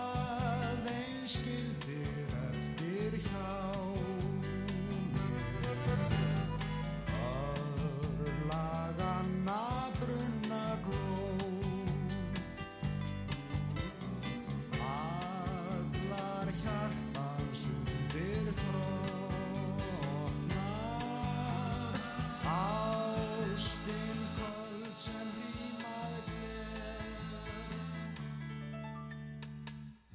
Aðeins skildir eftir hjá mér Örlaganna brunna glóð Allar hjartans undir þrótnar Ástin köld sem rímað gleð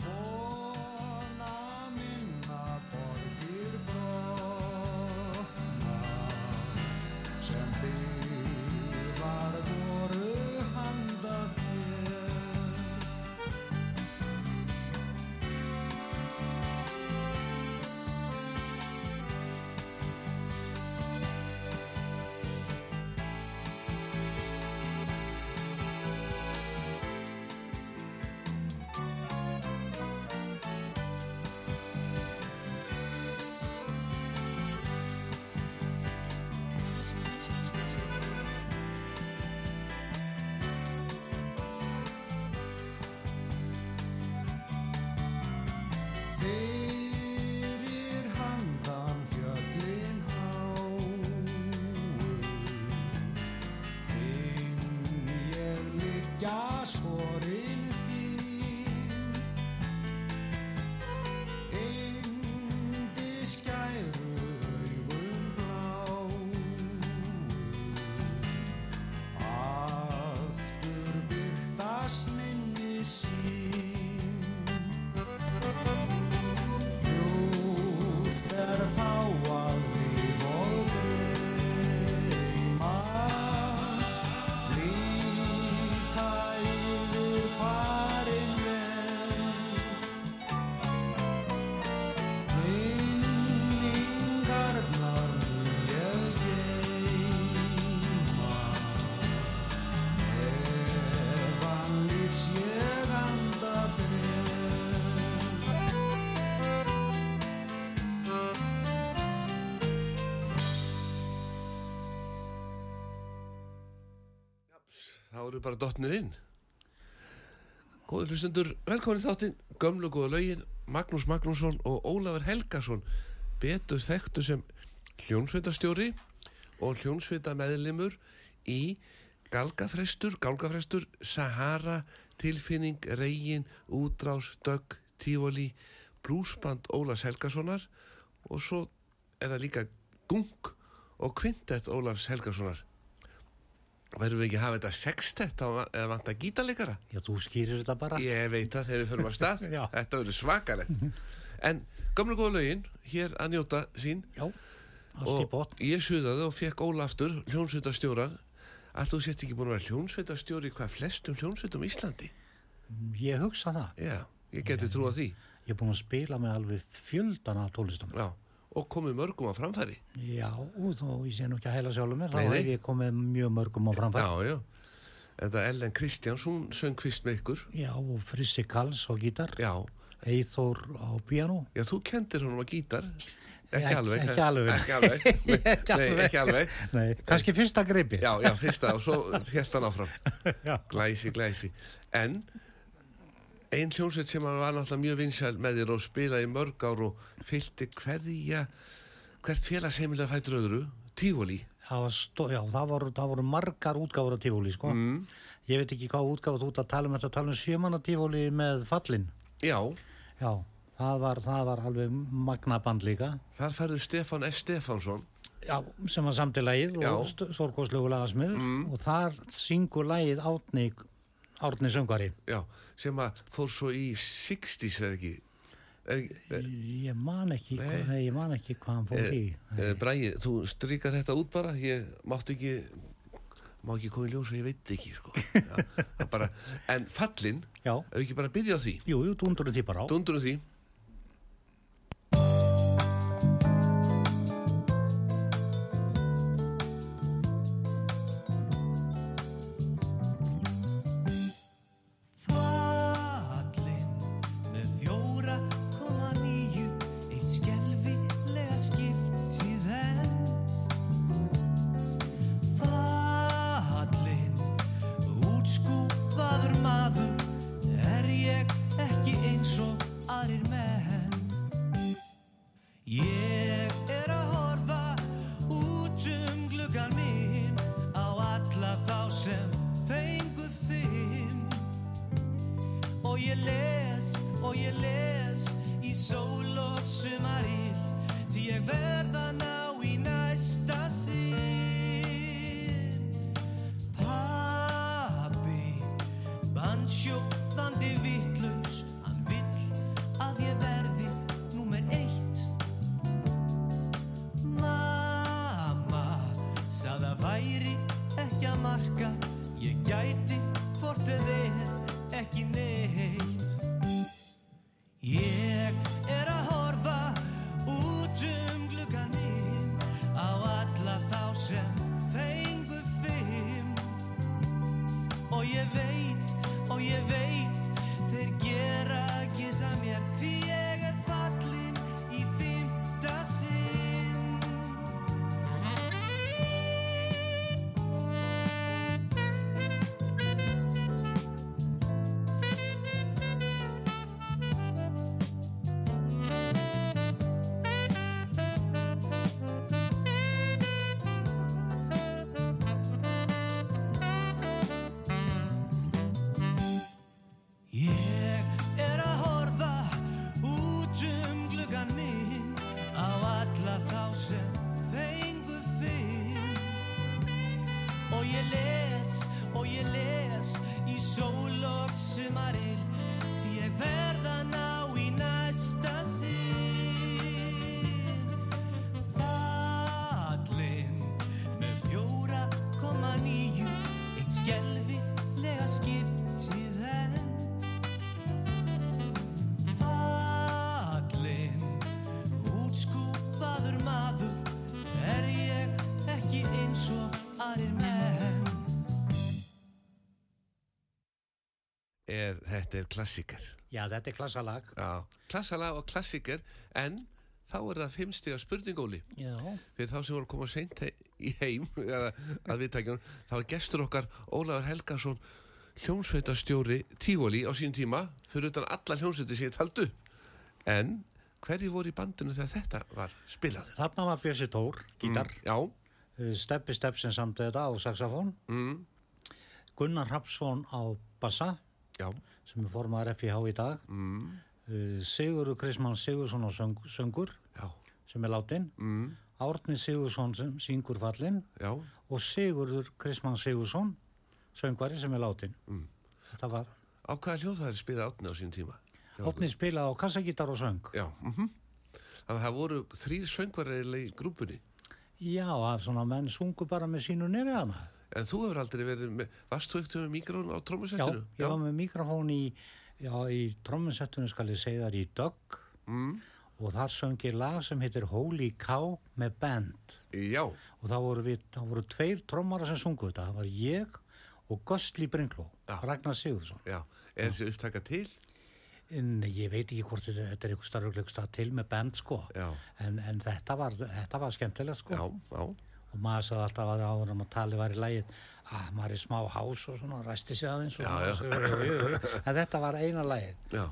Vona minna borgir brotnar sem byggðar voru handa þér. Fyrir handan fjöllin háu Finn ég liggja sporin þín Yndi skæru augum blá Aftur byrtast minni sín Ljúft er þá að líf og drauma líta yfir farinn veg. Minningarnar mun ég geyma meðan lífs ég anda dreg. Þá eru bara dottnir inn Góður hlustendur, velkomin í þáttinn Gömlu góða lögin, Magnús Magnússon og Ólafur Helgason Betur þekktu sem hljónsveitastjóri og hljónsveita meðlimur í Galgafrestur, Galgafrestur Sahara, Tilfinning, Regin Útrás, Dögg, Tífoli Blúsband Ólafs Helgasonar og svo er það líka Gung og Kvintett Ólafs Helgasonar verðum við ekki að hafa þetta sextett á- eða vanta gítarleikara Já, þú skýrir þetta bara. ég veit það þegar við förum að stað Já. Mhm. þetta verður svakalegt en gamla góða lögin, hér að njóta sín Já, allt í og bótt. ég suðaði og fekk Óla aftur hljónsveitastjóran að þú sett ekki búin að vera hljónsveitastjóri í hvað flestum hljónsveitum í Íslandi Ég hugsa það. já, ég geti trúa því Ég er búin að spila með alveg fjöldan af tónlistum. já, og komið mörgum á framfæri Já, og þó ég sé nú ekki að heila sjálfur mér, Nei, þá nei. hef ég komið mjög mörgum á framfæri. já, já en það Ellen Kristjáns, hún söng kvist með ykkur Já, og Frissi Kalls á gítar, já, Eithór á piano. já þú kendir honum á gítar ekki Ekki- alveg ekki alveg. ekki alveg, Ekki Nei, alveg. ekki alveg. Nei, kannski fyrsta greipi. Já, já, fyrsta og svo hérst hann áfram. Já. Glæsi, glæsi. En ein hljómsveit sem hann var náttúrulega mjög vinsæl með þér og spilaði í mörg ár og fylgdi hverja, hvert félagsheimilega fættur öðru, tífóli. Það, var stó, já, það, voru, það voru margar útgáfur af tífóli, sko. Mm. Ég veit ekki hvað útgáfur þú ert að tala um, þetta að tala um sjömanna tífóli með fallin. Já, Já, það var, það var alveg magnaband líka. þar færðu Stefán S. Stefánsson. Já, sem var samti lagið Já. Mm. og sorgóðslegu lagasmiður og þar syngur lagið Árni, Árni Söngari. Já, sem að fór svo í 60s eða ekki. Eh, Ég man ekki, Nei. hvað, ég man ekki hvað hann fór í. eh, Bragi, þú stríka þetta út bara ég mátt ekki má ekki koma í ljós og ég veit ekki sko. ja, það bara, en fallin Já, ef ekki bara byrja á því jú, jú, dúndur því bara á. dundurum því Fallin með fjóra koma nýju Eitt skelfilega skiptið enn Fallin, útskúpaður maður Er ég ekki eins og aðrir menn Ég er að horfa út um gluggan minn Á alla þá sem fengu fimm Og ég les, og ég les Í sól og sumarýr Því ég verð að ná í næsta sinn Pappi, bannsjóðandi vittlus Hann vill að ég verði númer eitt Mamma sað að væri ekki að marka Ég gæti hvort eð er ekki neitt Ég er að horfa út um gluggan minn Á alla þá sem fengu fimm Og ég veit, og ég veit Þeir gera ekki sem mér Því ég er fallin í fymta sinn Ég er að horfa út um gluggan minn á alla þá sem fengu fyrr og ég les og ég les í sól og sumaril því ég verð að ná í næsta sinn Fallin með fjóra koma nýju eitt skelfilega skiptið enn Fallin, útskúpaður maður Er ég ekki eins og aðrir menn er, þetta er klassikar Já, þetta er klassalag. Já, klassalag og klassikar en þá er það fimmstiga spurningóli Já. fyrir þá sem voru að koma seint he- í heim eða að viðtækjum þá er gestur okkar Ólafur Helgason hljómsveitastjóri Tígóli á sínum tíma fyrir utan alla hljómsveiti sem ég taldu en hverju voru í bandinu þegar þetta var spilað? Þarna var Bjössi Tór, gítar, Já, mm. Steppi Steppsen samt þetta á saxofón, mm, Gunnar Hrafsson á bassa, já, sem er formar FIH í dag, mm, uh, Sigurður Krismann Sigursson á söng, söngur, já, sem er látin, mm, Árni Sigursson sem syngur fallin já og Sigurður Krismann Sigursson, söngvari sem er látin. Mm. Það var, á hvaða hljóð það er spilað átni á sínum tíma? Átni spilaði á kassagítar og söng. Já, mhm Þannig að það voru þrýr söngvaræðilega í grúpunni Já, að svona menn sungu bara með sínu nefi hana. En þú hefur aldrei verið með, varst þú ekkert með mikrón á Já, trómusettinu? ég var með mikrofón í, já, í tromminsettinu skal ég segja þar í Dögg Mm, og þar söng ég lag sem heitir Holy Cow með band já, og þá voru, við, þá voru tveir trommara sem sungu þetta, það var ég og Göstli Bringló, Já. Ragnar Sigurðsson. já, er þessi upptaka til? En ég veit ekki hvort þetta, þetta er einhver starfugleik stað til með band sko, Já, en, en þetta, var, þetta var skemmtilega sko já, já, og maður sagði alltaf að áður um að tali var í lægið að maður er í smá hás og svona og ræsti sig aðeins og Já, já. en þetta var eina lægið. já.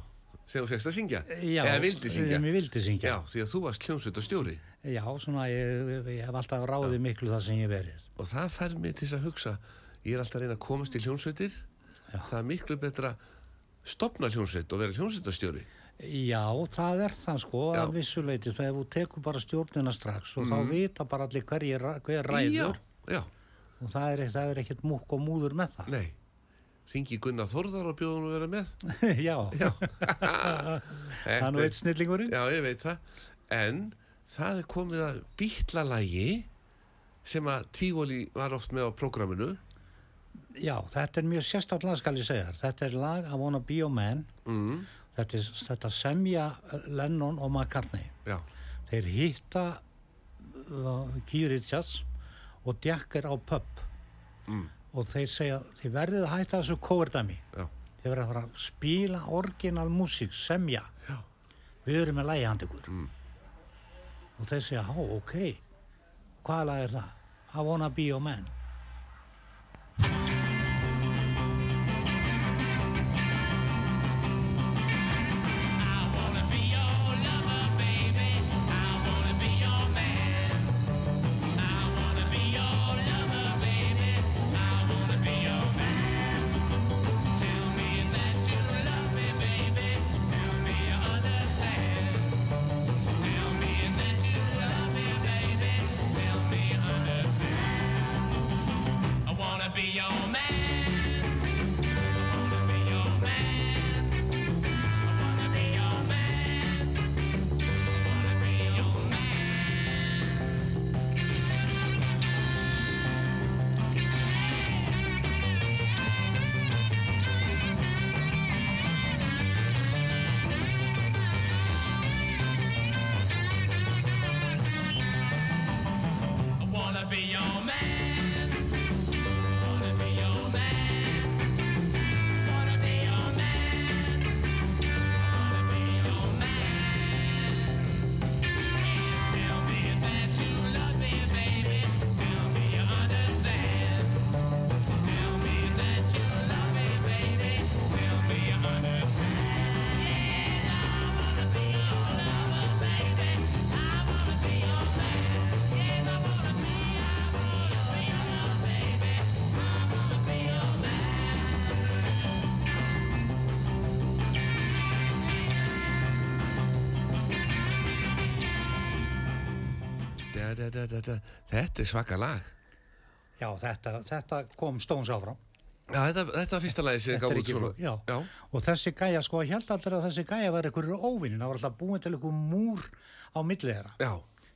Sem þú fegst að syngja? Já, Eða vildi syngja? Ég vildi syngja. Já, því að þú varst hljómsveitastjóri Já, svona, ég, ég, ég hef alltaf ráðið miklu það sem ég hef verið. og það fær mig til þess að hugsa, ég er alltaf að reyna að komast í hljómsveitir, Já. það er miklu betra að stopna hljómsveit og vera hljómsveitastjóri. Já, það er það sko, Já. Mm. að vissuleiti, þegar þú tekur bara stjórnina strax og þá vita bara allir hverjir, hver ræður Já, já, og það er, það er ekkert múkk og múður með það. nei, Ringi Gunnar Þórðar og bjóðum að vera með. já, Já. það er nú Þetta- eitt snillingurinn. Já, ég veit það. En það er komið að bítlalægi sem að Tígóli var oft með á prógraminu. Já, þetta er mjög sérstætt lag skal ég segja. þér. Þetta er lag I Wanna Be Your Man. Mm. Þetta, er, þetta semja eh, Lennon og McCartney. Já, Þeir hitta uh, Keith Richards og djakkar á pub. Mm. Og þeir segja, þið verðið að hætta þessu kóverdæmi. já, Þið verðið að fara að spila orginal músík, semja. Já. Við erum með lagi handi ykkur. Mm. Og þeir segja, há, ok. Hvaða lag er það? I wanna be your man. I wanna be your man. I wanna be your man. da, da, da, da, da. þetta er svaka lag. Já, þetta, þetta kom Stones áfram. Já, þetta, þetta var fyrsta lagi sem Þetta er gaf út ekki svona. flókið, já. já, Og þessi gæja, sko, ég held allir að þessi gæja var einhverjur óvinnin, það var alltaf búin til einhver múr á milli þeirra já,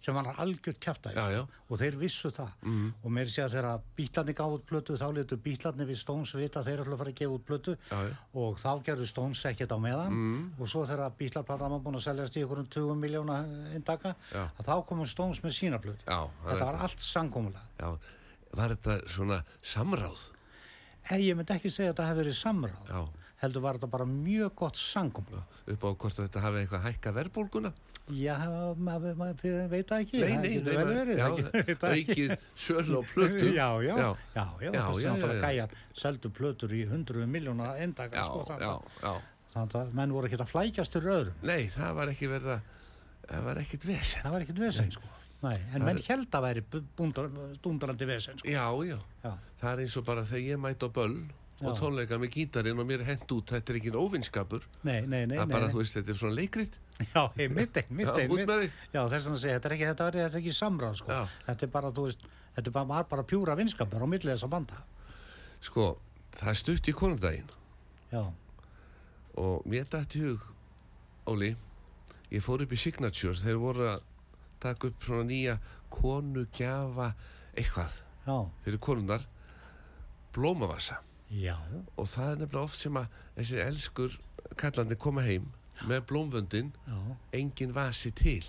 sem hann algjört kjæfta Já, já. Mhm. og þeir vissu það mm. og mér sé að þegar bítlarni gaf út plötu þá letu bítlarni við Stones vita að þeir ætla að fara að gefa út plötu Já, Mhm. já. og þá gerðu Stones ekkert á meðan og svo þegar bítlarplata var búin að seljast í einhverjum 20 miljóna indaka Já. að þá komum Stones með sína plötu já. það- þetta var allt sangómulega Já, var þetta svona samráð? ég myndi ekki segja að þetta hefði verið samráð Já, heldur var þetta bara mjög gott sangómulega já, upp á hvort þetta hafi eitthvað hækka verðbólguna? Já, maður, maður veit það ekki. það getur vel maður- verið, já, það getur- veit það ekki. aukið sölu á plötu. Já, já, já, já. já, já, Já, þessi já, náttúrulega já, já. gæjar seldu plötur í 100 miljóna endaka, sko, Já, það, já, já. þannig að menn voru ekkert að flækjast fyrir öðrum, Nei, það var ekki verið að, það var ekkit vesen. það var ekkert vesen, sko, nei, en menn held að væri bu- búndar- dúndrandi vesen, sko, Já, já, já, það er eins og bara þegar ég mæti á böll og Já. tónleika með gítarinn og mér er hent út, þetta er ekki óvinskapur. nei, nei, nei, Það er nei, bara, nei. þú veist, þetta er svona leikrit. já, einmitt, einmitt, Já, út einmitt, með þig. já, þess vegna segja, þetta er ekki, þetta var, þetta er ekki samráð, sko, Já. þetta er bara, þú veist, þetta er bara, var bara pjúra vinskapur á milli þessa banda, Sko, það er stutt í konundaginn já, og mér dætt í hug, Óli, ég fór upp í Signature, þeir voru að taka upp svona nýja konugjafa eitthvað já, fyrir konundar, blómavasa. já, Og það er nefnilega oft sem að þessir elskur kallandi koma heim með blómvöndin já, engin vasi til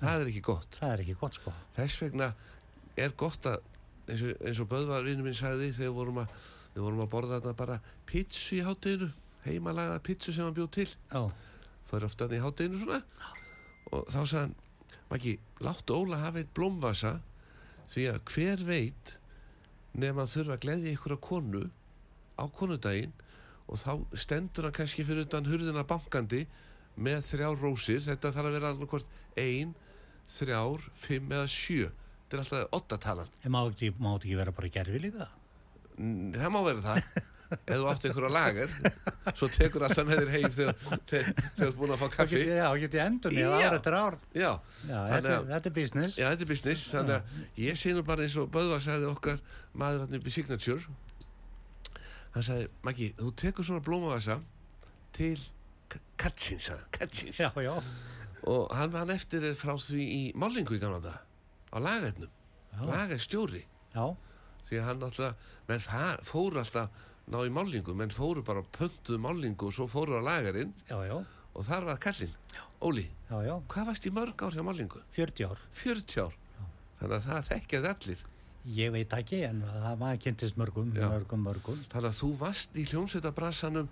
það er ekki gott það er ekki gott, sko, þess vegna er gott að eins og, eins og Böðvarinu minn sagði þegar við vorum að, við vorum að borða þarna bara pítsu í hátteginu heimalagða pítsu sem hann bjóð til já, fyrir ofta hann í hátteginu svona og þá sagði hann Maggi, láttu Óla hafa eitt blómvasa því að hver veit nefn að þurfa að gleðja ykkur að konu á konudaginn og þá stendur hann kannski fyrir utan hurðina bankandi með þrjár rósir þetta þarf að vera alveg hvort ein, þrjár, fimm eða sjö þetta er alltaf ottatalan En má þetta ekki, má þetta ekki vera bara gerfi líka? N- það má vera það ef þú átt ykkur á lager svo tekur alltaf með þér heim þegar, þegar, þegar þú ert búin að fá kaffi Get, já, get ég endur niður Já. ár eftir ár. já, Já, Þannig þetta, að- þetta er business. já, þetta er business þannig að ég sé nú bara eins og Böðvar sagði okkar maður hann upp í Signature hann sagði, Maggi, þú tekur svona blómavasa til K- Katsins, sagði hann, Katsins já, já, og hann var hann eftir frá því í Málingu í gamla þetta á lagætnum, lagæstjóri já, því að hann alltaf, menn fa- fóru alltaf ná í Málingu, menn fóru bara pöntuðu Málingu og svo fóru á lagarinn já, já, og þar var kallinn, Óli já, já, hvað varst í mörg ár hjá Málingu? 40 ár. 40 ár, þannig að það þekkjaði allir Ég veit ekki, en það maður kynntist mörgum, Já. mörgum, mörgum. þannig að þú varst í hljómsveitabransanum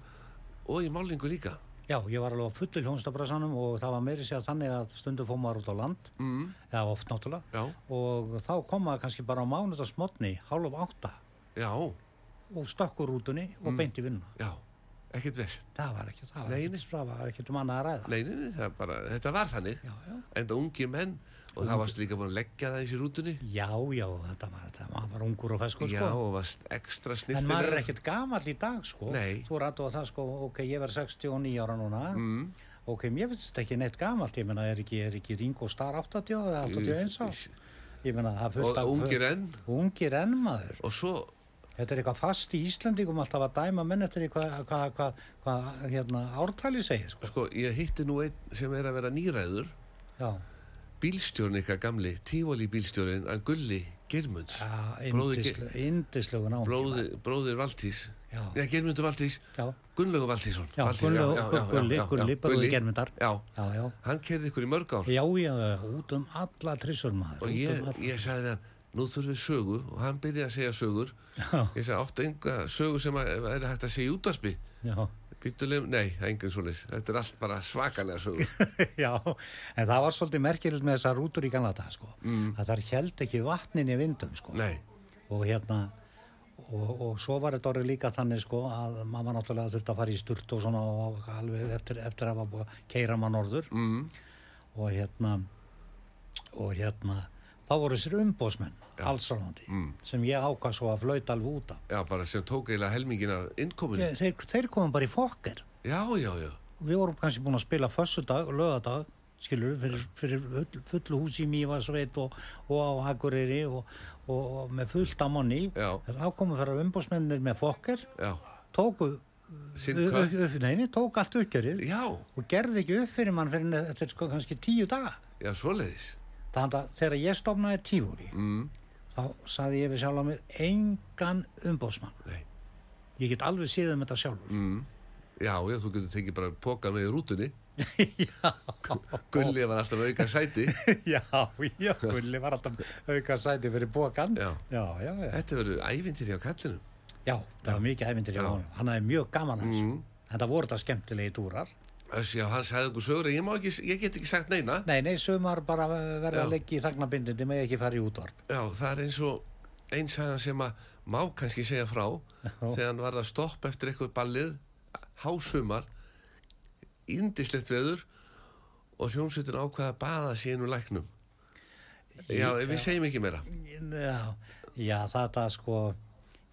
og í Málingu líka Já, ég var alveg á fullu hljónstabrasanum og það var meiri sér þannig að stundu fór maður út á land, mm, eða oft náttúrulega, já, og þá kom maður kannski bara á mánudagsmotni, hálf átta, já, og stökk úr rútunni og mm. beinti vinnuna. já ekkert vesk Það var ekki, það var Nei, ekki, það var ekki um annað að ræða. Nei, nei, nei, það er bara, þetta var þannig Já, já. enda ungi menn og það varst líka búin að leggja það í sér útunni Já, já, þetta var, þetta maður var ungur og feskur, Já, sko. og varst ekstra En maður er snirtilega ekkert gamall í dag, sko. Nei. Þú er aðtóða það, sko, ok, ég verð 69 ára núna. Mm. Ok, mér finnst þetta ekki neitt gamalt, ég meina, er ekki, er ekki Ringo Starr 80 eða 81 ára? Ég meina, það er fullt og af... ungir enn Ungir enn, maður. og svo, Þetta er eitthvað fast í Íslandingum alltaf að dæma menn eftir eitthvað, hvað, hvað, hvað, hérna, ártali segir, sko. sko, ég hitti nú einn sem er að vera nýræður Já. bílstjórn ykkar gamli, tífóli bílstjórn en Gulli Girmunds Já, Bróðir indislu, indislugu náungi. bróðir, bróðir Valtís Já. Nei, Girmundur Valtís, Já, Gunnlaugur Valtísson Já, Valtís, Gunnlaug- já, já, já, Gulli- já, já, Gulli, bróðir Geirmundar. Já, já, já. hann kerði ykkur í mörg ár Já, já, út um alla trissur maður. og út ég, um alla. ég sagði við hann nú þurfum við sögu og hann byrjaði að segja sögur ég sagði áttu enga sögu sem að, er hægt að segja í útvarpi Já. býtulegum, nei, það er engin svoleiðis þetta er allt bara svakalega sögur Já, en það var svolítið merkilegt með þessar rútur í Kanada, sko. Að þar held ekki vatnin í vindum, sko. Mm. nei, Og hérna, og, og svo var þetta orðið líka þannig, sko, að mamma náttúrulega þurfti að fara í sturt og svona og og alveg eftir, eftir að hafa búið að keira maður norður. Mm. Og hérna, og hérna, þá voru þessir umbósmenn, allsráðandi, Mm. sem ég ákvað svo að flauta alveg út af. já, bara sem tók eiginlega helmingin af innkominu, Þeir, þeir, þeir komum bara í fokker. já, já, já við vorum kannski búin að spila fössudag og lögadag skilur fyrir, fyrir full- fullu hús í Mývasveit og, og á Akureyri og, og, og með fullt af manni Já. En þá komu fyrir umbósmennir með fokker já, tóku sinn u- kött u- u- neini, tók allt uppgjörið já, og gerði ekki upp fyrir mann fyrir þetta sko kannski tíu daga já, svoleiðis þannig að þegar ég stofnaði tífúri mm. þá saði ég við sjálf á mig engan umbósmann nei, ég get alveg síðan með þetta sjálfur mm. já, já, þú getur tekið bara póka með í rútunni Gulli var alltaf að auka sæti já, já, Gulli var alltaf auka sæti fyrir bókan Já. já, já, já. þetta verður ævintir hjá kallinum Já, það var mikið æfindir hjá honum. Hann hafði mjög gaman að þessu. Mm. En það voru þetta skemmtilegi túrar. Öss, já, hann sagði okkur sögur, ég, má ekki, ég get ekki sagt neina Nei, nei, sumar bara Já. verða að leggja í þagnabindindi með ekki fara í útvarp. Já, það er eins og eins sagan sem að má kannski segja frá þegar hann varð að stoppa eftir eitthvað ballið hásumar indislegt veður og hljómsveitin ákvaða að baða sig inn úr læknum Já, við segjum ekki meira Já, já þetta sko...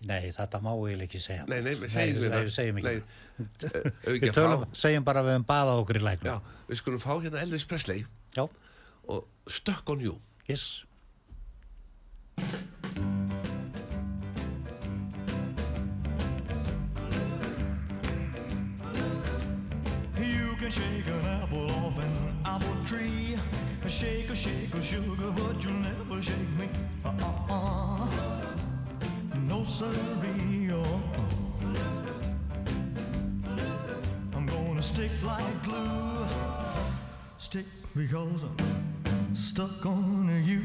Nei, þetta má eiginlega ekki segja. Nei, nei, við segjum nei, meira við segjum ekki. Nei, eh, eigum ekki við að tölum, um fá- segjum bara að við höfum baðað okkur í læknum. Já, við skulum fá hérna Elvis Presley Já, og Stuck on You yes. You can shake an apple off an apple tree. Shake a shake a sugar, but you'll never shake me. Uh-uh-uh. No siree. Uh-uh. I'm gonna stick like glue. Stick because I'm stuck on you.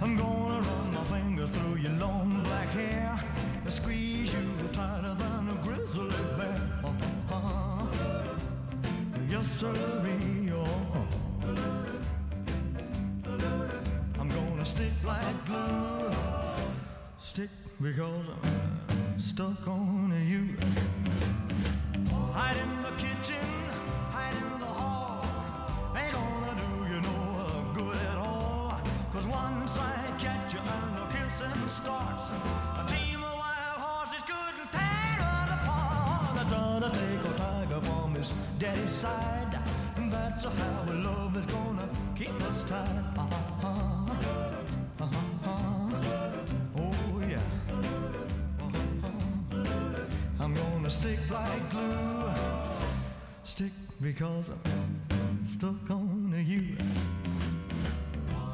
I'm gonna run my fingers through your long black hair. Squeeze you tighter than a grizzly bear. Uh-huh. Yes, sir. I'm gonna stick like glue. Stick because I'm stuck on you. Hide in the kitchen, hide in the hall. Ain't gonna do you no good at all. Cause once I catch you and the kissing starts, a team of wild horses couldn't tear us apart. I gonna take a tiger from his daddy's side. And that's how our love is gonna keep us tied. Uh-huh, uh-huh, uh-huh. Oh yeah. Uh-huh. stick like glue. Stick because I'm stuck on you.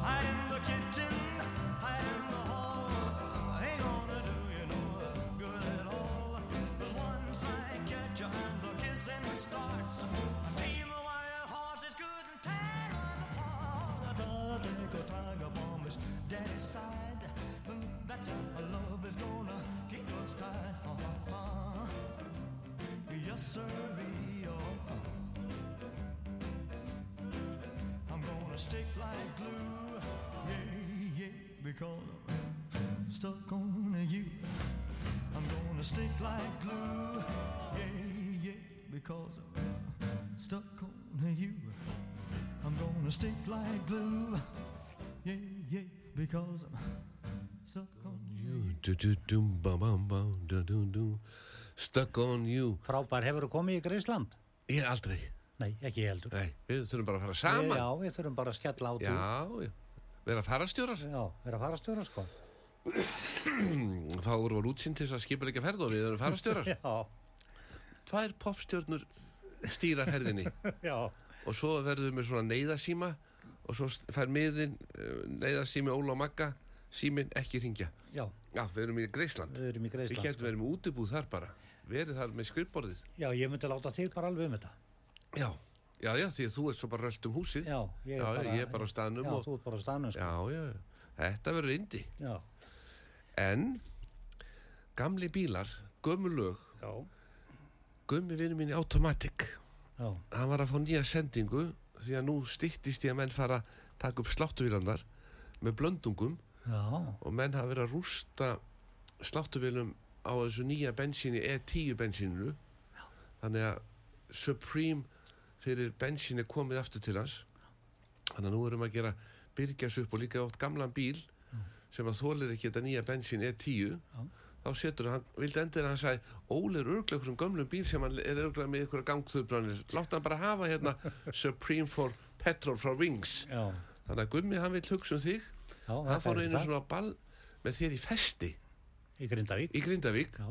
I am the kitchen, I am the hall. I ain't gonna do you no good at all. 'Cause once I catch you, I'm the kissing starts. I mean the wild horses couldn't tear us apart. I thought they could tiger from his daddy's side. And that's how our love is gonna keep us tied. Uh-huh. Yes, sir. uh I'm gonna stick like glue. Yeah, yeah, because I'm stuck on you. I'm gonna stick like glue. Yeah, yeah, because I'm stuck on you. I'm gonna stick like glue. Yeah, yeah, because I'm stuck on you. Du-du-dum-ba-bam-bam-du-du-du. Stuck on you Frábær, hefur þú komið í Greisland? Ég aldrei, Nei, ekki ég heldur. nei, við þurfum bara að fara saman Já, við þurfum bara að skella á því. Já, já, vera farastjórar Já, við erum að fara stjóra sko. Þá vorum við útsýn til þess að skipa leika ferð og við erum farastjórar Já, Tvær popstjórnur stýra ferðinni já, og svo verðum við svona neyðasíma og svo fær miðin eh, neyðasími Óla og Magga símin ekki hringja já, Já, við erum í Greisland við erum í sko. Við Greisland. kæftum verið með útibúð þar bara Verið þar með skrifborðið Já, ég myndi láta þig bara alveg um þetta. Já, já, já, því að þú ert svo bara rölt um húsið Já, ég er já, bara- ég er bara á staðnum já, og... þú ert bara á stanum sko. Já, já, já, þetta verður indi Já, En, gamli bílar, gömul lög já, Gummi vinur mín í Automatic já, Hann var að fá nýja sendingu Því að nú styttist ég að menn fara að taka upp sláttuvílandar Með blöndungum já, og menn hafa verið að rústa sláttuvilum á þessu nýja bensíni E10 bensíninu þannig að Supreme fyrir bensíni komið aftur til hans þannig að nú erum að gera byrgjas upp og líka átt gamlan bíl sem að þólir ekki þetta nýja bensín E10 þá setur hann, vildi endur að hann sagði Óli er örglega ykkur um gömlum bíl sem hann er örglega með ykkur gangþöðbrannir láta hann bara hafa hérna Supreme for Petrol frá Wings já, þannig að Gummi hann vil hugsa um þig já. hann fór þetta er einu það. svona á ball með þér í festi Í Grindavík. í Grindavík Já,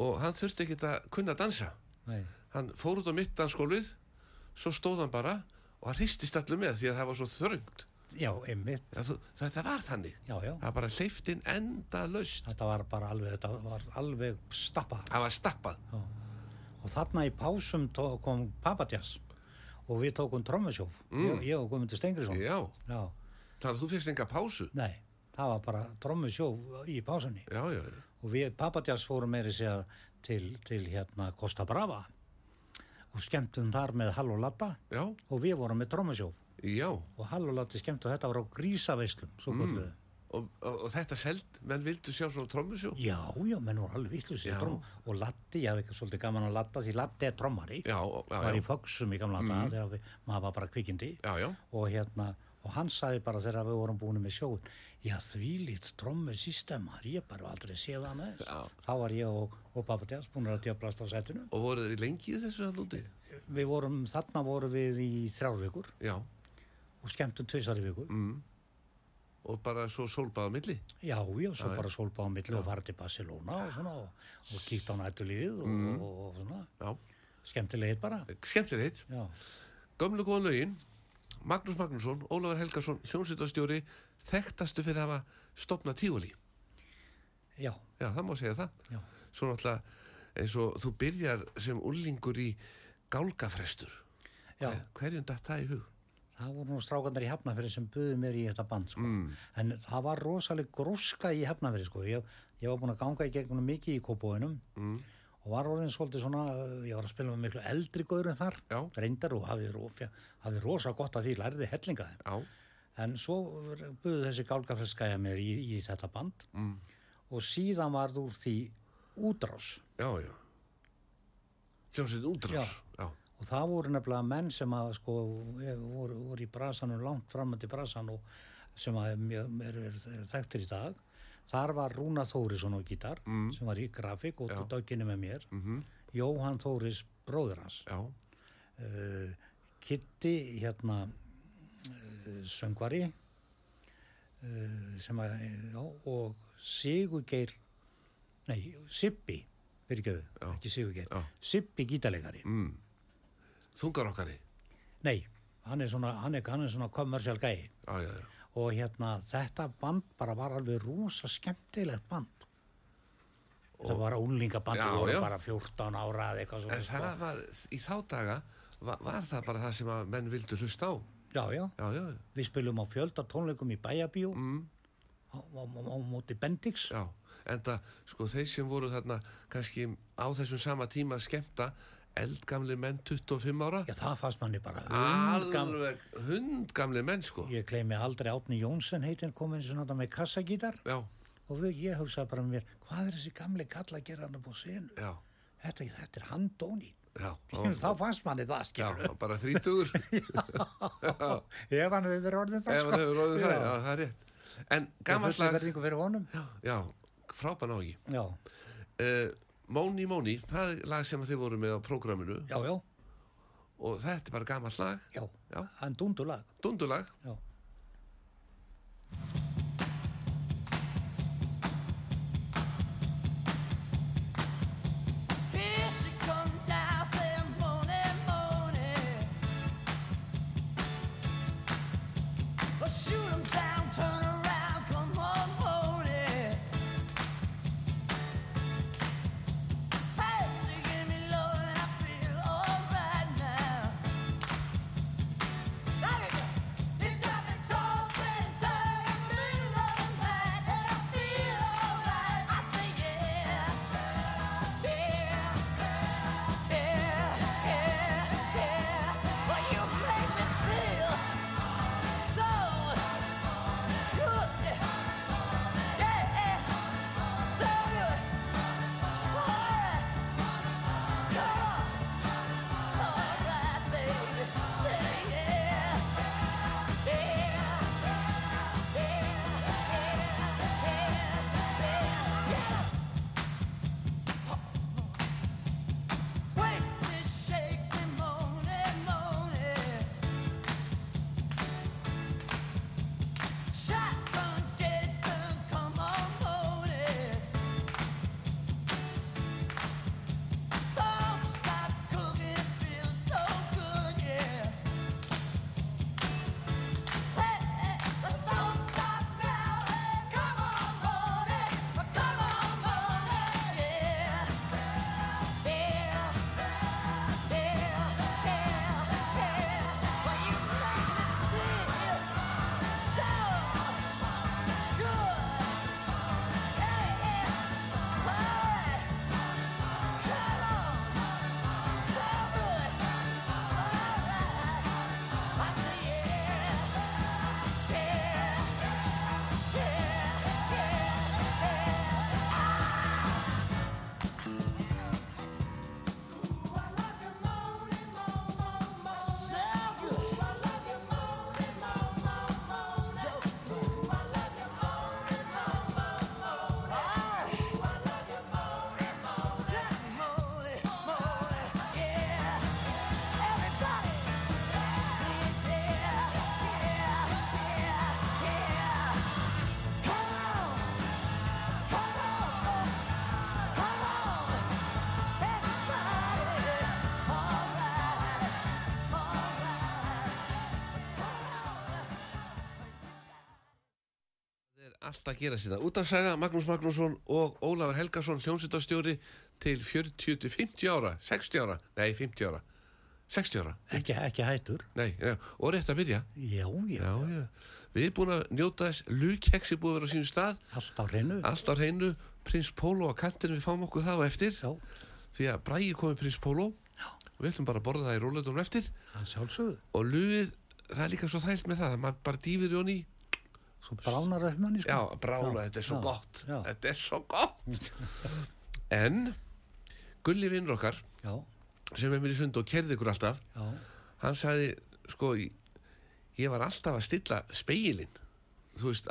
og hann þurfti ekkert að kunna að dansa nei, hann fór út á mitt dansskólið svo stóð hann bara og hann hristist allir með því að það var svo þröngt já, einmitt, Það- þú- þetta var þannig já, já. það var bara hleyftin enda laust Þetta var bara alveg, þetta var alveg stappað. það var stappað Og þarna í pásum tó- kom Papatjas og við tókum trommusjóf, ég, ég og Guðmundur Stengrisson. Mm. já, Já, þannig að þú fyrst enga pásu nei, það var bara trommusjóf í pásunni. já, já, og við Papatjás fórum meiri segja til, til hérna Costa Brava og skemmtum þar með Hall og Latta já, og við vorum með Trómusjóf já og Hall og Latti skemmtu þetta var á grísaveislum svo kvölduðu Mm. og, og, og þetta seld, menn vildu sjá svona trommusjó já, já, menn voru alveg vittlust Já. og Latti, ég hafði ekki svolítið gaman að Latta því Latti er trommari já, já, var í já, foksum í gamla mm. þegar við, maður var bara kvikindi já, já. og hérna og hann sagði bara þegar við vorum búin með sjóun já þvílít trommusystem maður, ég bara hef aldrei séð hann aðeins Já. þá var ég og, og pappa Tjás búin að djöflast á setinu og voruð þið lengi í þessu hann úti við vorum, þarna vorum við í þrjár vikur já, og skemmtum tvisar í viku og bara svo sólbaða milli já, já, svo bara sólbáða milli og farið til Barcelona og svona og, og kíkt á nættulíð og, og, og svona, já, skemmtilegir bara skemmtilegt já, Gömlu góðan lögin, Magnús Magnússon, Ólafur Helgason, hljónsýtastjóri, þekktastu fyrir að hafa stopnað tífali. já, Já, það má segja það. Já. Svo náttúrulega eins og þú byrjar sem ullingur í gálgafrestur. Eh, já Hverjum datt það í hug? það voru nú strákarnar í Hefnafyrir sem buðu mér í þetta band sko. en það var rosaleg gróska í Hefnafyrir sko. ég, ég var búin að ganga í gegnum mikið í kópóinum mm. og var orðin svolítið svona uh, ég var að spila með miklu eldri gaurum þar Já. reyndar og hafði, rof, hafði rosa gott að því lærði hellinga þeim Já, En svo buðu þessi gálgafræskæja mér í, í þetta band mm. og síðan varð úr því útrás já, já. Hljónsýtt útrás. Já. og það voru nefnilega menn sem að sko eh, voru, voru í brasanum langt framöndi brasan og sem að mjög- eru er, er þekktir í dag þar var Rúna Þórisson á gítar sem var í grafík og Já. dögginni með mér -hmm. Jóhann Þóris bróður hans Já, uh, Kitty hérna uh, söngvari eh, uh, sem að já, og Sigurgeir nei, Sippi fyrirgjöðu, Já. ekki Sigurgeir Já. Sippi gítalegari, Mm. Þungar okkari. nei hann er svona, hann er, hann er svona commercial gæi Já, já, já. og hérna þetta band bara var alveg rosa skemmtilegt band þetta var úlingaband Já, það voru já. bara 14 ára eða eitthvað svona sko. En það var, í þá daga, var, var það bara það sem að menn vildu hlusta á. já, já, Já, já, já. við spilum á fjölda tónleikum í Bæjabíó mm. á, á, á, á móti Bendix Já, en það, sko, þeir sem voru þarna kannski á þessum sama tíma að skemmta eldgamli menn 25 ára já, það fannst manni bara hundgam- alveg hundgamli menn, sko ég gleymi aldrei Átni Jónsson heitin komin svona þarna með kassagítar Já, og við, ég hugsaði bara með mér hvað er þessi gamli kalla að gera hann upp á senu já, þetta, þetta er hann Dóni já þá fannst manni það Já, skilur bara þrítugur Ef ef hann hefur verið orðið það sko. hann hefur orðið það, Já. já, það er rétt En gammal gammal slag lag, verðingu fyrir honum já, frábæn á ekki já, uh, Móni Móni, það er lag sem að þið voru með á prógraminu já, já, og þetta er bara gammal lag, já, Já. hann dundulag dundulag já. Here she comes now, saying, "Money, money." Oh, shoot 'em down, turn around, come on, hold it. Hey, she gave me love and I feel alright now. It got me tossing, turning, and feeling bad, and I feel alright. I say, yeah. Yeah. Wake me, shake me, moan and moan it. Shotgun, get them, come on, hold it. Don't stop cooking, it feels so good, yeah. Hey, hey, but don't stop now, hey, come on, moan it, come on, moan it, yeah. Yeah, yeah, yeah, yeah. Well, you make me feel so good. Hey, hey, hey. Come on, so good. Alright, I say yeah, yeah, yeah, yeah, yeah. Það er allt að gera síðan. Útafsaga Magnús Magnússon og Ólafur Helgason hljómsveitarstjóri til 40 til 50 ára, 60 ára, nei 50 ára, 60 ára, ekki, ekki hættur nei, já, og rétt að byrja. já, já, Já, já. Við erum búin að njóta þess, lúkheksi búið að vera á sínum stað, allt á hreinu allt á hreinu, prins Pólo á kantinu, við fáum okkur það á eftir, já, því að bræði komið prins Pólo, og við ætlum bara að borða það í róleitum eftir, hann sjálfsögðu og lúið, það er líka svo þælt með það, að maður bara dýfir í honni, svo bránar upp manni sko. Já, brála, þetta er svo já, gott já. Þetta er svo gott En Gulli vinnur okkar já, sem er mér í sund og kerði ykkur alltaf já, hann sagði, sko ég ég var alltaf að stilla speilin þú veist,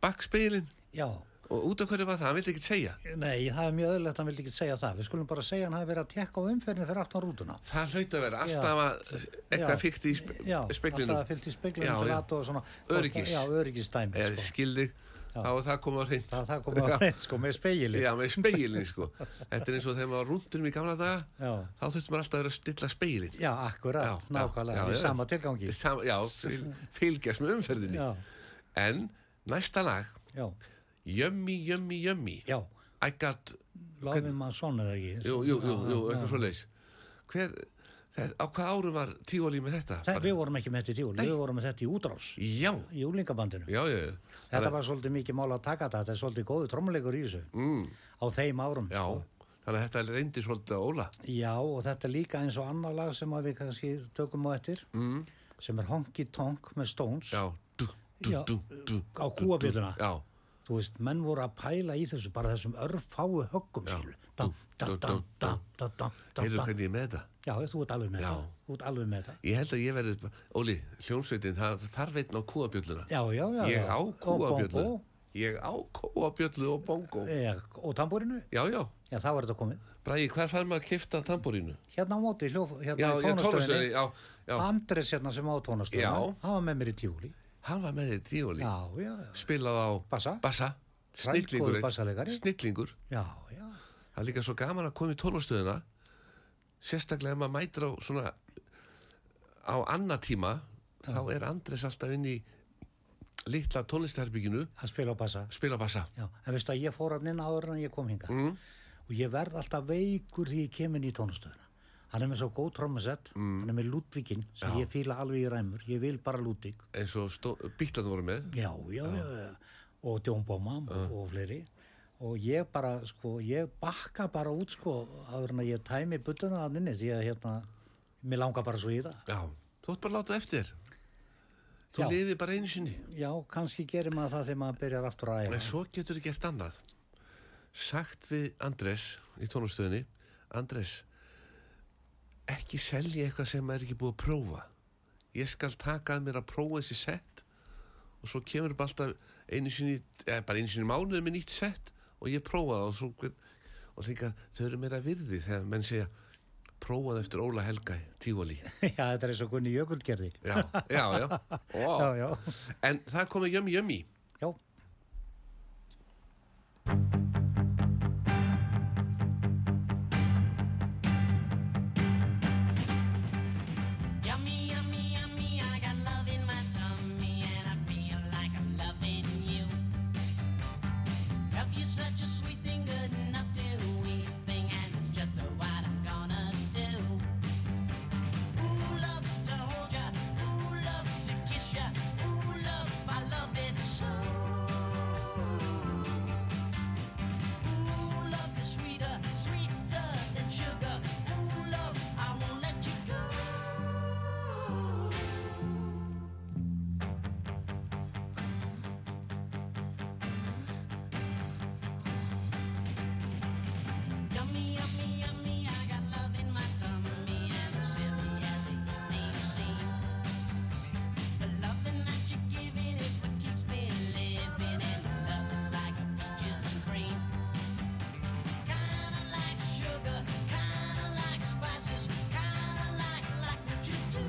bakspeilin já og út af hverju var það, hann vildi ekki segja nei, það er mjög öðrulegt, hann vildi ekki segja það við skulum bara segja hann hafi verið að tekka á umferðinu fyrir aftan rútuna það hlaut að vera alltaf Já. að eitthvað fíkt í spe já, speilinu alltaf fyllt í speklinu Já, til já. aðtóða svona Öryggis. já, öryggistæmi eða sko. skildi þá er það komið á reynd það, það komið á hreint sko með speili Já, með speilin sko Þetta er eins og þegar maður var rúndunum í gamla daga Já. þá þurftum maður alltaf að vera að stilla speilin Já, akkurat, Já, já, nákvæmlega, já, í já. sama tilgangi Sam, Já, fyl, fylgjast með umferðinni Já. En næsta lag Já, Yummy, yummy, yummy já, I got lofið maður svona eða ekki Jú, jú, jú, jú eitthvað svo leis Hver, það, á hvað árum var tíolí með þetta? Það, Bara- við vorum ekki með þetta í tíu, við vorum með þetta í útrás Já, í úlingabandinu já, já, já. Þetta var svolítið mikið mál að taka þetta, þetta er svolítið góðu trommuleikur í þessu mm. á þeim árum. Já, sko. þannig að þetta reyndi svolítið að óla Já, og þetta er líka eins og annar lag sem að við kannski tökum á eftir mm. sem er Honky Tonk með Stones Já, dú, dú, Já, dú, dú, á kúabituna. Já, Þú veist, menn voru að pæla í þessu bara þessum örfáu höggum Já. skilur. Dam, dam, dam, dam, dam, dam, dam, heyrðu dam. hvernig ég er með þetta Já, þú ert alveg með Já. það. Þú ert alveg með það. Ég held að ég verði, Óli, hljónsveitin, það þarf einn á kúabjölluna. Já, já, já. Ég já. á kúabjöllu. Og bongo. Ég á kúabjöllu og bongo. Eh, Og tambúrinu. Já, já. Já, það var þetta komið. Bræði, hver fær maður að kifta tamburínu? Hérna á móti, hljóf, Já, hérna í já, tónastöðinni, tónastöðinni. já, já. Andres hérna sem á tónastöðinni. Já. Hann var með mér í tjúli. Hann var með þið tífóli. Já, já, já. Spilað á Bassa. bassa. Frændgóður Snillingur. bassaleikari. Snillingur. Já, já. Það er líka svo gaman að koma í tónastöðina. Sérstaklega ef maður mætir á svona, á annað tíma, þá er Andres alltaf inn í litla tónlistarbygginu, Hann spila á bassa. spila bassa. Já, en veistu að ég fór hann inn áður en ég kom hingað og ég verð alltaf veikur því ég kem inn í tónastöðuna hann er með svo góð trommasett hann er með Ludvíkin sem ég fíla alveg í ræmur ég vil bara Ludvík eins og stó- bítlarnir voru með já, já, já, já. og Djón Bóma og fleiri og ég bara, sko, ég bakka bara út sko, áður en að ég tæmi buttuna að inni því að hérna, mér langar bara svo í það Já, þú ætti bara að láta eftir þér. Þú Já. lifið bara einu sinni já, kannski gerir maður það þegar maður byrjar aftur að æfa En svo getur þú gert annað Sagt við Andres í tónastöðinni Andres ekki selja eitthvað sem er ekki búið að prófa Ég skal taka að mér að prófa þessi sett og svo kemur bara alltaf einu sinni eða bara einu sinni í mánuði með nýtt sett og ég prófa það og svo og líka þau eru meira virði þegar menn segja prófaði eftir Óla Helga tífali já, þetta er eins og Gunni Jökull gerði já, já, já. Ó. já, já, En það komið Yummy Yummy já, Yummy, yummy, yummy, I got love in my tummy and I feel like I'm loving you. Love you such a sweet thing, good enough to eat thing, and it's just what I'm gonna do. Ooh, love to hold ya, ooh, love to kiss ya, ooh, love, I love it so. Ooh, love is sweeter, sweeter than sugar. Ooh, love, I won't let you go. Yummy, yummy, yummy, I got love in my tummy, and as silly as it may seem, the loving that you're giving is what keeps me living, and the love is like a peaches and cream, kinda like sugar, kinda like spices, kinda like like what you do.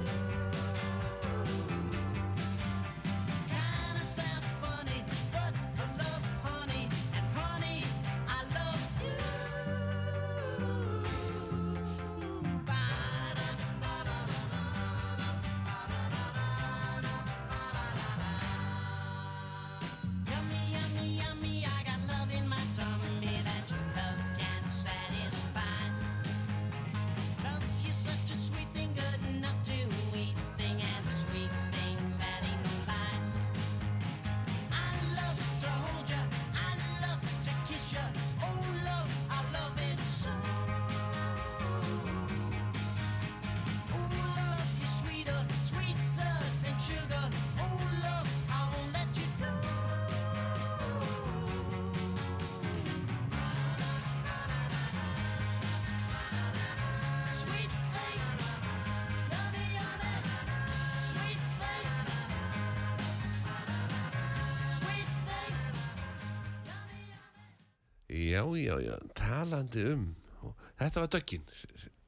Kinda sounds funny, but to love, honey, and honey, I love you. Yummy, yummy, yummy, I got love in my tummy that your love can't satisfy. Love is such a sweet thing, good enough to eat thing, and a sweet thing that ain't no lie. I love to hold ya, I love to kiss ya, oh love, I love it so. Oh love, you're sweeter, sweeter than sugar, oh love, I won't let you go. Sweet thing, yummy, yummy, sweet thing, sweet thing, yummy, yummy. Já, já, já, talandi um Þetta var döggin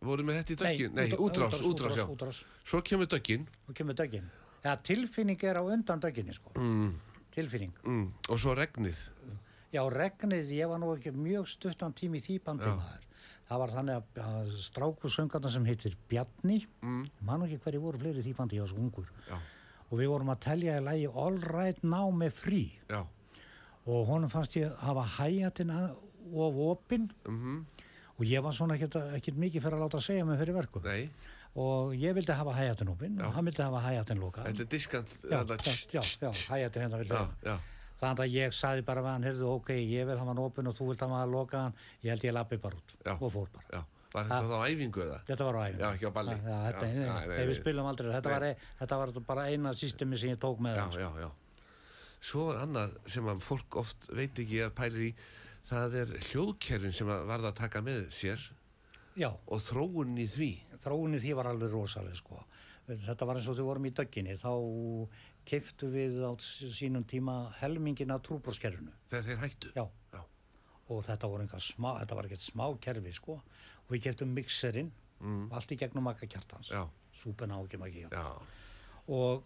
Voru með þetta í döggin? Nei, út- útrás, útrás, útrás, já útrás, útrás. Svo kemur döggin og kemur dögin eða tilfinning er á undan döginni sko. mm. tilfinning. mm, og svo regnið Já, regnið, ég var nú ekki mjög stuttan tími í því bandi maður. Það var þannig að, að strákusöngarna sem heitir Bjarni, mm. mann ekki hverju voru fleiri í því bandi, ég var svo ungur. Já. Og við vorum að telja í lagi All Right Now með frí já, og honum fannst ég hafa hægjatinn of opinn Mhm. og ég var svona ekkert, ekkert mikið fyrir að láta segja mig fyrir verku. nei, Og ég vildi hafa hægjatinn opinn og hann vildi hafa hægjatinn lokað. þetta er diskant Já, þarna, já, tss, já, já, hægjatinn hérna vildi já, hafa. já, Þannig að ég sagði bara við hann, heyrðu, ok, ég vil hafa hann opinn og þú vilt hafa hann lokaðan, ég held ég lappi bara út Já. og fór bara. já var Ah. þetta þá á æfingu eða? Þetta var á æfingu. Já, ekki á balli. Já, þetta, Já, já, nei, nei, nei, nei, nei. við spilum aldrei, þetta var, ein- þetta var bara eina systemi sem ég tók með já, hann. sko. já, já svo er annað sem að fólk oft veit ekki að pælir í það er hljóðkerfin sem að varða að taka með sér Já, og þróunin í því þróunni því var alveg rosaleg, sko. Þetta var eins og þau vorum í dögginni, þá keiftu við á sínum tíma helmingin af trúbórskerfinu. þegar þeir hættu Já, já, og þetta voru einhver smá, þetta var ekkert smá kerfi, sko. Og við keiftum mixerinn, allt í gegnum makka kjartans. Mm. já, Súpuna á ekki makki kjartans. já, og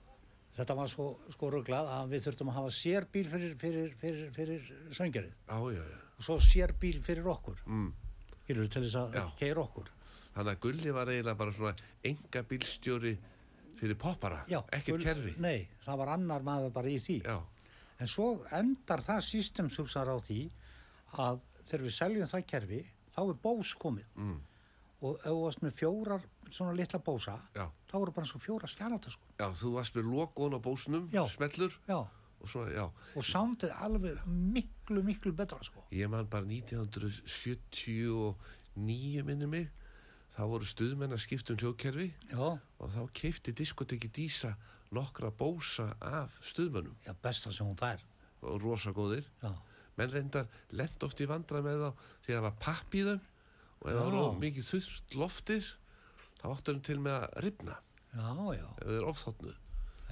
þetta var svo sko rugglað að við þurftum að hafa sérbíl fyrir, fyrir, fyrir, fyrir söngarið já, já, já. og svo sérbíl fyrir okkur mm. skilur til þess að Já. keira okkur þannig að Gulli var eiginlega bara svona enga bílstjóri fyrir poppara Já, ekkert gul- kerfi Nei, það var annar maður bara í því já, en svo endar það system hugsaðar á því að þegar við seljum það kerfi þá er bós komið mm. og ef þú varst með fjórar svona litla bósa Já. þá voru bara eins og fjóra skjalatöskur já, þú varst með lokon á bósnum Já. smellur Já. og svo, já, og soundið alveg miklu miklu betra sko ég man bara 1979 minni mig þá voru stuðmenn að skipta um hljóðkerfi Já. og þá keipti diskoteki Dísa nokkra bósa af stuðmönnum Já, besta sem hún fær. og rosa góðir Já. menn reyndar lent oft í vandra með þá því að það var papp í þeim og ef það Já. var mikið þurft loftir þá áttu hann til með að ripna Já, já. ef þau eru ofþotnu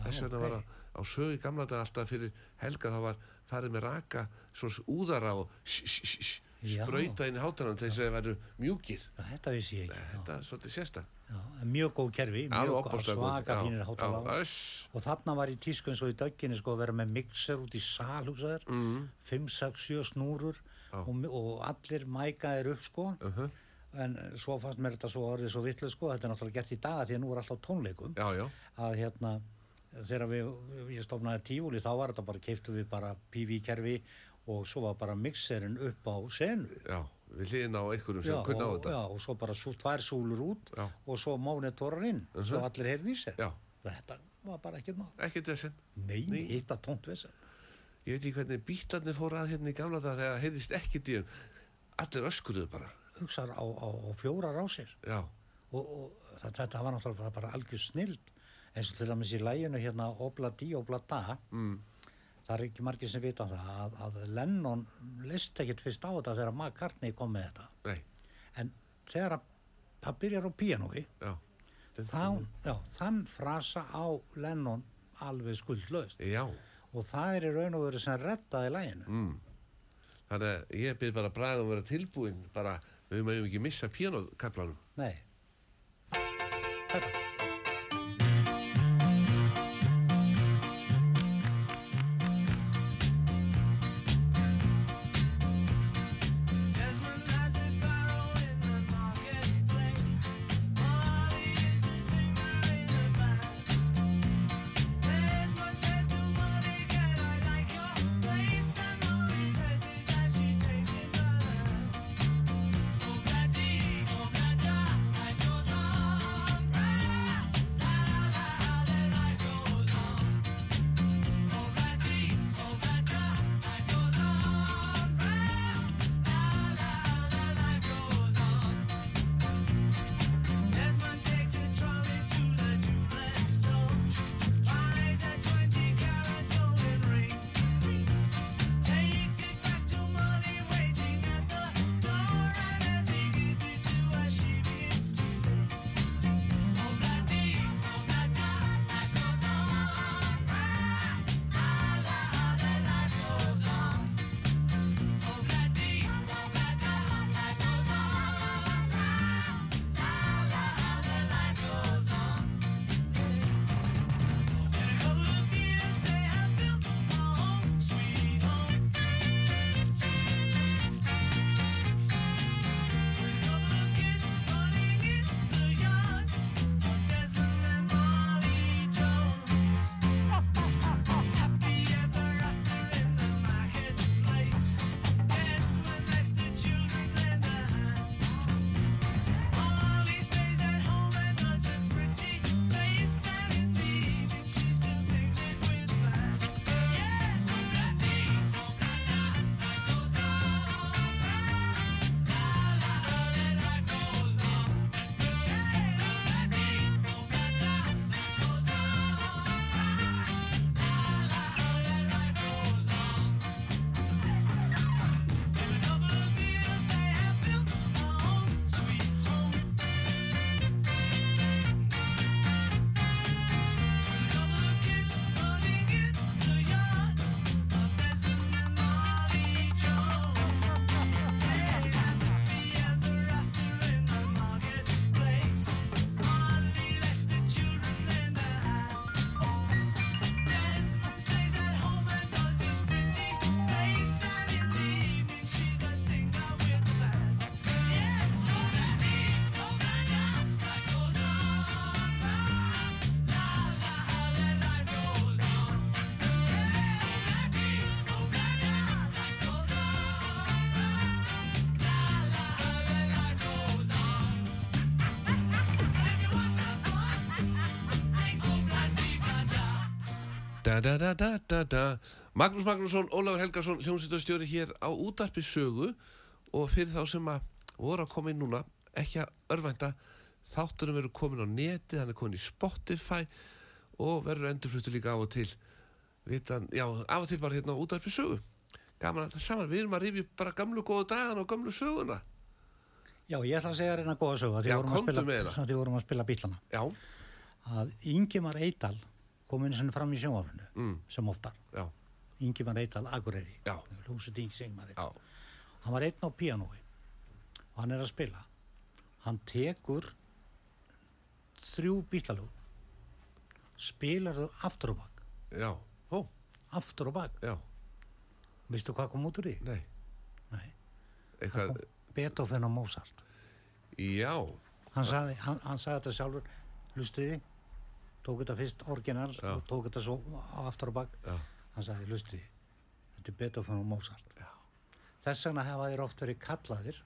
þess vegna var ok. að, á sögu í gamla dag alltaf fyrir helga þá var farið með raka svona úðara og sh- sh- sh- sh- Já. sprauta inn í hátarann til þess að það væru mjúkir Já, Þetta vissi ég ekki. þetta er svolítið sérstætt Já, en mjög góð kerfi, mjög Alveg góð, ofboðslega svaka góð. Já, fínir hátalag. já, öss. Og þarna var í tísku eins og í dögginni sko að vera með mixer út í sal, hugsaður, Mm. 5, 6, 7 snúrur og, mi- og allir mækaðir upp sko. En svo fannst mér þetta svo orðið svo vitlega sko, þetta er náttúrulega gert í dag því að nú er alltaf tónleikum. já, já, að hérna þegar við, ég stofnaði tífúli þá var þetta bara, keiftu við bara PV-kerfi og svo var bara mixerinn upp á senu. já við hliðin á einhverjum sem kunna á og, þetta já, og svo bara svo tvær súlur út Já. og svo mónitorar inn svo allir heyrði í sér Já. þetta var bara ekkert mál ekkert þessin nei, nei. hitta tónt vesen ég veit ekki hvernig bítlarnir fóru að hérna í gamla dag þegar heyrðist ekkert í þeim allir öskuruðu bara hugsar á, á, á fjórar á sér já, og, og þetta, þetta var náttúrulega bara, bara algjör snild eins og til dæmis í læginu hérna Obla Dí, Obla Da mm. það er ekki margir sem vita um það að, að Lennon list ekkert fyrst á þetta þegar McCartney kom með þetta nei, en þegar að- það byrjar á píanói já þá, já, þann frasa á Lennon alveg skuldlaust já, og það er í raun og veru sem rettaði læginu mm. þannig að ég byrð bara braga um að vera tilbúinn bara, við mögum ekki missa píanókaplanum nei þetta, Oh, Da, da, da, da, da, da. Magnús Magnússon, Ólafur Helgason, hljómsveitastjóri hér á útarpi sögu og fyrir þá sem að voru að koma inn núna, ekki að örvænta, þátturum eru komin á netið, hann er komin í Spotify og verður endurflutur líka af og til, Vitan, já, af og til bara hérna á útarpi sögu. Gaman að það saman, við erum að rifja upp bara gamlu góðu dagana og gamlu söguna. Já, ég ætla að segja reyna góða sögu að því Já, vorum að komdu spila, með hana. að því vorum að spila bílana Já, að Ingimar Eidal kom einu sinni fram í sjónvarfinu sem oftar, já, Ingimar Eidal Akureyri, Mm. já, hlúsið Ingimar Eidal já, hann var einn á píanói og hann er að spila hann tekur þrjú bílalög spilar þau aftur og bak já, ó, aftur og bak, já, veistu hvað kom út úr því? nei, Nei, eitthvað, Beethoven og Mozart já, hann sagði, hann, hann sagði þetta sjálfur lustriði, tók þetta fyrst orginal Já. og tók þetta svo á aftur og bak já, hann sagði, lustriði þetta er Beethoven og Mozart Já. þess vegna hafa þeir oft verið kallaðir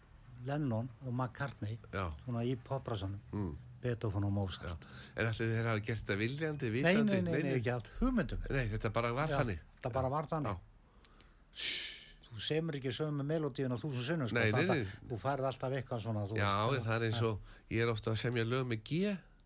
Lennon og McCartney já. svona í poprasanum Mm. Beethoven og Mozart Já. En allir þeir hafa gert þetta viljandi, Nei, vitandi nei, nei, nei, ekki haft hugmyndum við. Nei, þetta bara var Já, þannig Það bara var þannig. Þú semur ekki sömu melodíun á þúsund sinnum, sko. Nei, nei, þetta- nei. Þú færð alltaf eitthvað svona, þú Já, það er eins og ég er ofta að semja lög með G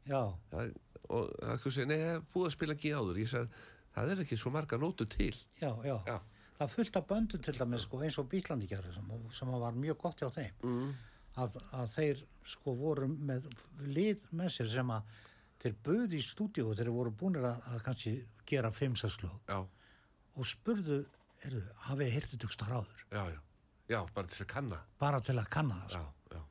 Já, það, og það er segja, nei, það er búið að spila G áður ég sagði, það er ekki svo marga nótur til já, já. Já. Það er fullt af böndum til dæmis, sko, eins og bílandi gerði, sem, sem var mjög gott hjá þeim. Mm. Að, að þeir, sko, voru með lið með sér sem að þeir buði í stúdíu þeir voru búinir að, að kannski gera fimmsaslög Já, og spurðu, erðu, hafið hirtið tugstar áður? já, já, já, bara til að kanna Bara til að kanna það, sko. Já, já,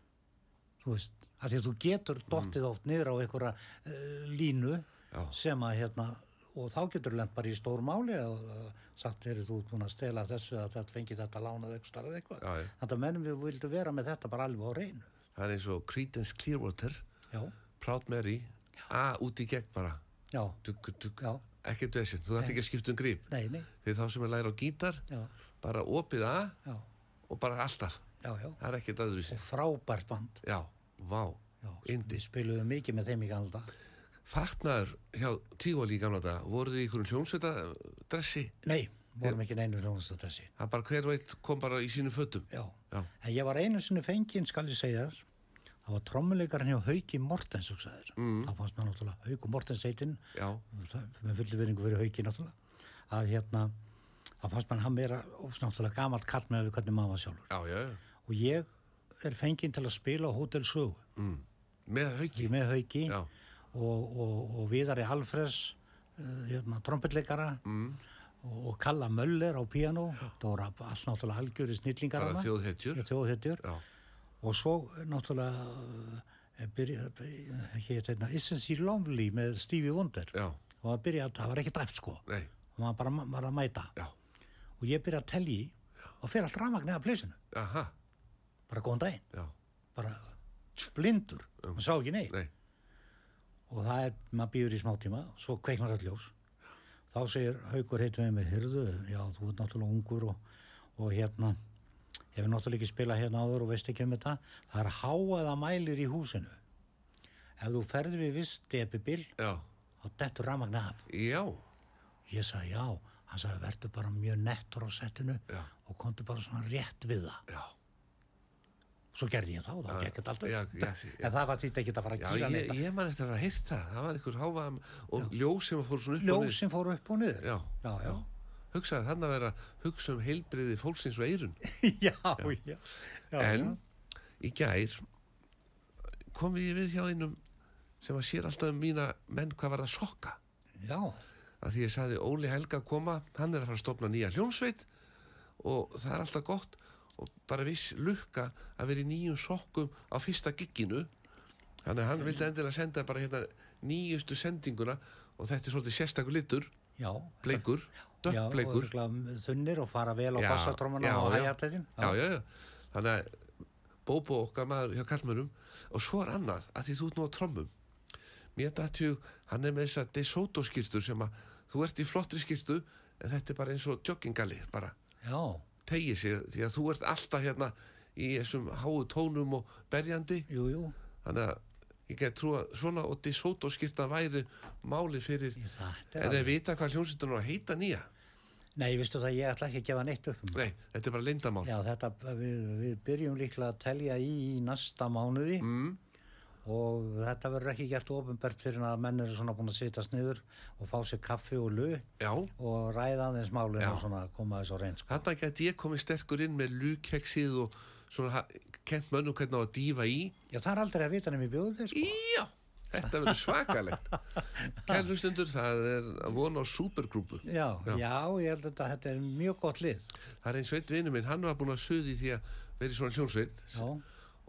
þú veist, af því að þú getur dottið oft niður á einhverja uh, línu Já. sem að hérna og þá getur lent bara í stór máli og uh, sagt er þú ert búin að stela þessu að þetta fengi þetta lánað eitthvað starf eitthvað Já, já. þannig að mennum við vildum vera með þetta bara alveg á reynu það er eins og Creedence Clearwater já, Proud Mary, A út í gegn bara já, duk, duk, já, ekki dvesin, þú ætti ekki að skipta um gríp nei, nei þegar þá sem er læra á gítar já, bara opið A já, og bara alltaf já, já það er ekkert öðruvísi og frábært band Já, vá, já, sko. indi við spiluðum mikið með þeim í galda Fatnaður hjá Tígóli í gamla dag, voruð þið í einhvern hljómsveita dressi? nei, vorum ekki neinu hljónast þessi Það bara hver veit kom bara í sínum fötum. já, Já, en ég var einu sinni fenginn skal ég segja þér það var trommuleikarinn hjá Hauki Mortens hugsaðir, mm. það fannst mér náttúrulega Hauku Mortens heitinn, já, það- með fullu veringu fyrir Hauki náttúrulega, að hérna það fannst mér hann meira ós náttúrulega gamalt kall með við hvernig maður var sjálfur já, já, já. og ég er fenginn til að spila á Hotel Sögu, Með hauki. ég með Hauki Já, og, og, og Viðari Alfres uh, hérna, trompetleikara mm. og, og Kalla Möller á piano það voru allt náttúrulega algjöri snillingar bara þarna. þjóðhetjur. þjóðhetjur Já, og svo eh, náttúrulega eh, byrja, byrja, hétt hérna Isn't She Lonely með Stevie Wonder já, og það byrja, það var ekki dræft sko nei, og maður bara ma- var að mæta já, og ég byrja að telji og fer allt rafmagn eða plesinu, aha, bara góðan daginn já, bara blindur, maður sá ekki neitt nei, og það er, maður býður í smá tíma svo kveiknar öll ljós þá segir Haukur heitum við með hyrðu já, þú ert náttúrulega ungur og, og hérna, hefur náttúrulega ekki spilað hérna áður og veist ekki um þetta það er háaða mælir í húsinu ef þú ferður við viss depibil já, þá dettur rafmagn af já, ég sagði já, hann sagði verður bara mjög nettur á settinu Já. og komdu bara svona rétt við það já. svo gerði ég þá, þá Já, gekk þetta alltaf já, já, já. en það var því ekki að fara að Já, kýra ég, neitt ég man eftir að hitt það, það var einhver háfaðam og ljós sem fór svona upp og ljós niður. sem fór upp og niður Já, já, já, hugsaði þannig að vera hugsa um heilbriði fólksins og eirun. já, já. já, en já. í gær kom ég við hjá einum sem að sér alltaf um mína menn hvað var að sokka Já, að því ég sagði Óli Helga koma hann er að fara að stopna nýja hljónsveit og það er alltaf gott og bara viss lukka að vera í nýjum sokkum á fyrsta gigginu þannig að hann vildi endilega senda bara hérna nýjustu sendinguna og þetta er svolítið sérstakur litur já. bleikur, Já, og dökkbleikur örugglega þunnir og fara vel á Já, bassatrómana já, og já. hægjalletin. já, já, já. Þannig að Bóbo okkar maður hjá kallmörum og svo er annað að því þú ert nú á trommum mér dættu, hann er með þess að De Soto skýrtur sem að þú ert í flottri skýrtu en þetta er bara eins og joggingalli bara Já, tegið sig því að þú ert alltaf hérna í þessum háu tónum og berjandi jú, jú. þannig að ég gæti trú að svona og DeSoto skipta væri máli fyrir Þetta en er þeir alveg... vita hvað hljómsveitin á að heita nýja Nei, vistu það, ég ætla ekki að gefa neitt upp um nei, þetta er bara lindamál Já, þetta, við, við byrjum líklega að telja í, í næsta mánuði mm, og þetta verður ekki gert ofinbært fyrir að menn eru svona búin að sitast niður og fá sér kaffi og lu já, og ræða aðeins málinu Já. og svona koma þessu á reynd sko. þarna gæti ég komið sterkur inn með lúkeksið og svona ha- kent mönnum hvernig á að dýfa í Já, það er aldrei að vita nefnir bjóðu þig sko. já, þetta verður svakalegt kæri hlustendur, það er að vona á supergrúpu Já, Já. já, ég held að þetta er mjög gott lið. það er einn sveit vinnu minn, hann var búin að suði því að vera í svona hljómsveit Já,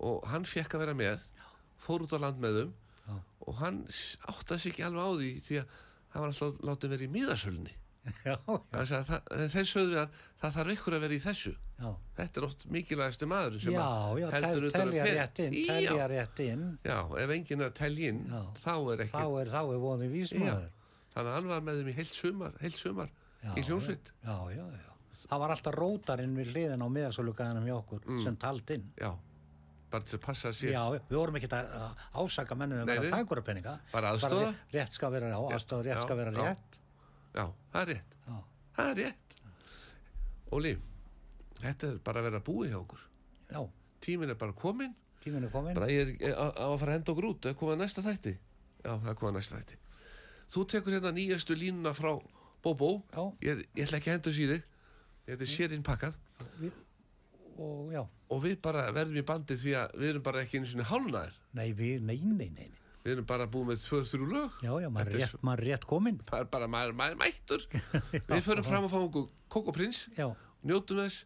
og hann fekk að vera með fór út á land með þum Já. og hann s- áttaði sig ekki alveg á því því að hann var alltaf látið vera í miðasölunni já, þannig að það- en þeir sögðu við hann það þarf ykkur að vera í þessu já. þetta er oft mikilvægasti maður sem Já, að já, heldur tel, utan um telja pening. rétt inn, Já, telja rétt inn, já, ef enginn er að telja inn Já. þá er þá ekki er, þá er vonið vísmaður. þannig að hann var með þeim í heilt sumar, heilt sumar Já, í hljómsveit Já, já, já. Það var alltaf rótarinn við hliðin á miðasölugaðinum hjá okkur sem tald inn. já, bara til að passa Mm. sér Já, við vorum ekki að að ásaka mennum um Nei, nei. að vera tækura peninga. Bara aðstoða. ré- Rétt skal vera, já, aðstofa, rétt já, skal vera já. rétt. já það er rétt Já. það er rétt Óli, þetta er bara að vera búið hjá okkur Já, tíminn er bara kominn tíminu komin. bara ég er á á að fara að henda okkur út að koma næsta þætti já, það er koma næsta þætti þú tekur hérna nýjastu línuna frá Bóbó Já. ég, ég ætla ekki að henda þessu í þig þetta er sérinn pakkað Og já, og við bara verðum í bandi því að við erum bara ekki einu sinni hálnaðir nei, við, nei, nei, nei. nei. við erum bara búið með tvö, þrjú lög Já, já, maður Þetta er er rétt, maður er rétt komin. bara, bara maður, maður er mættur við förum fram og fáum okkur kokoprins Já, njótum þess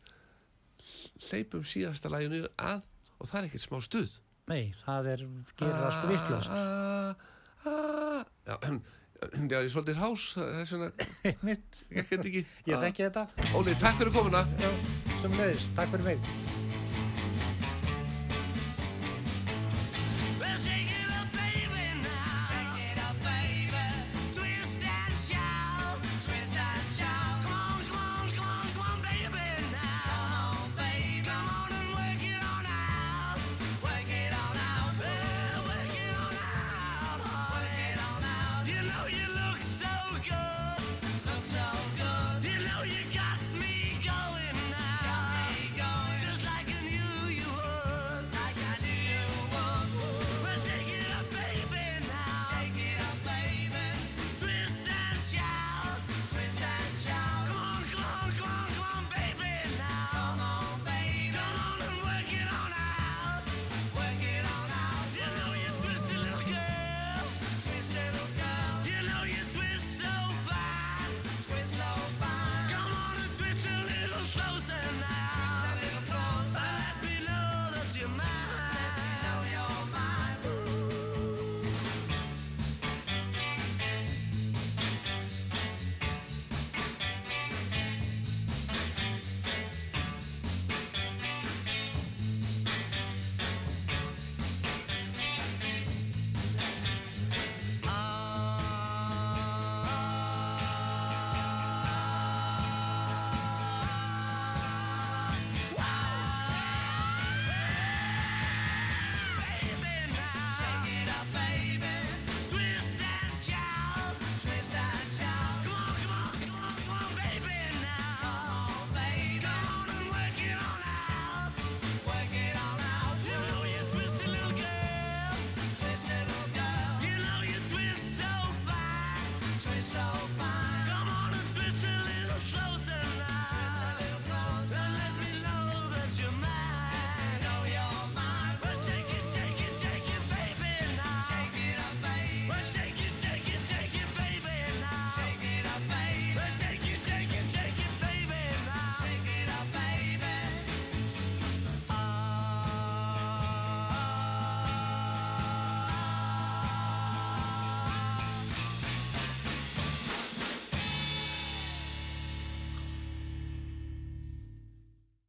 hleypum síðasta læginu að og það er ekkert smá stuð nei, það er, gerir allt vittlust. Ah, ah, Já, já, ég er svolítið hás það er svona, Mitt, ég get ekki ég þekki þetta. Óli, takk fyrir komuna Já, sem leiðis, takk fyrir mig.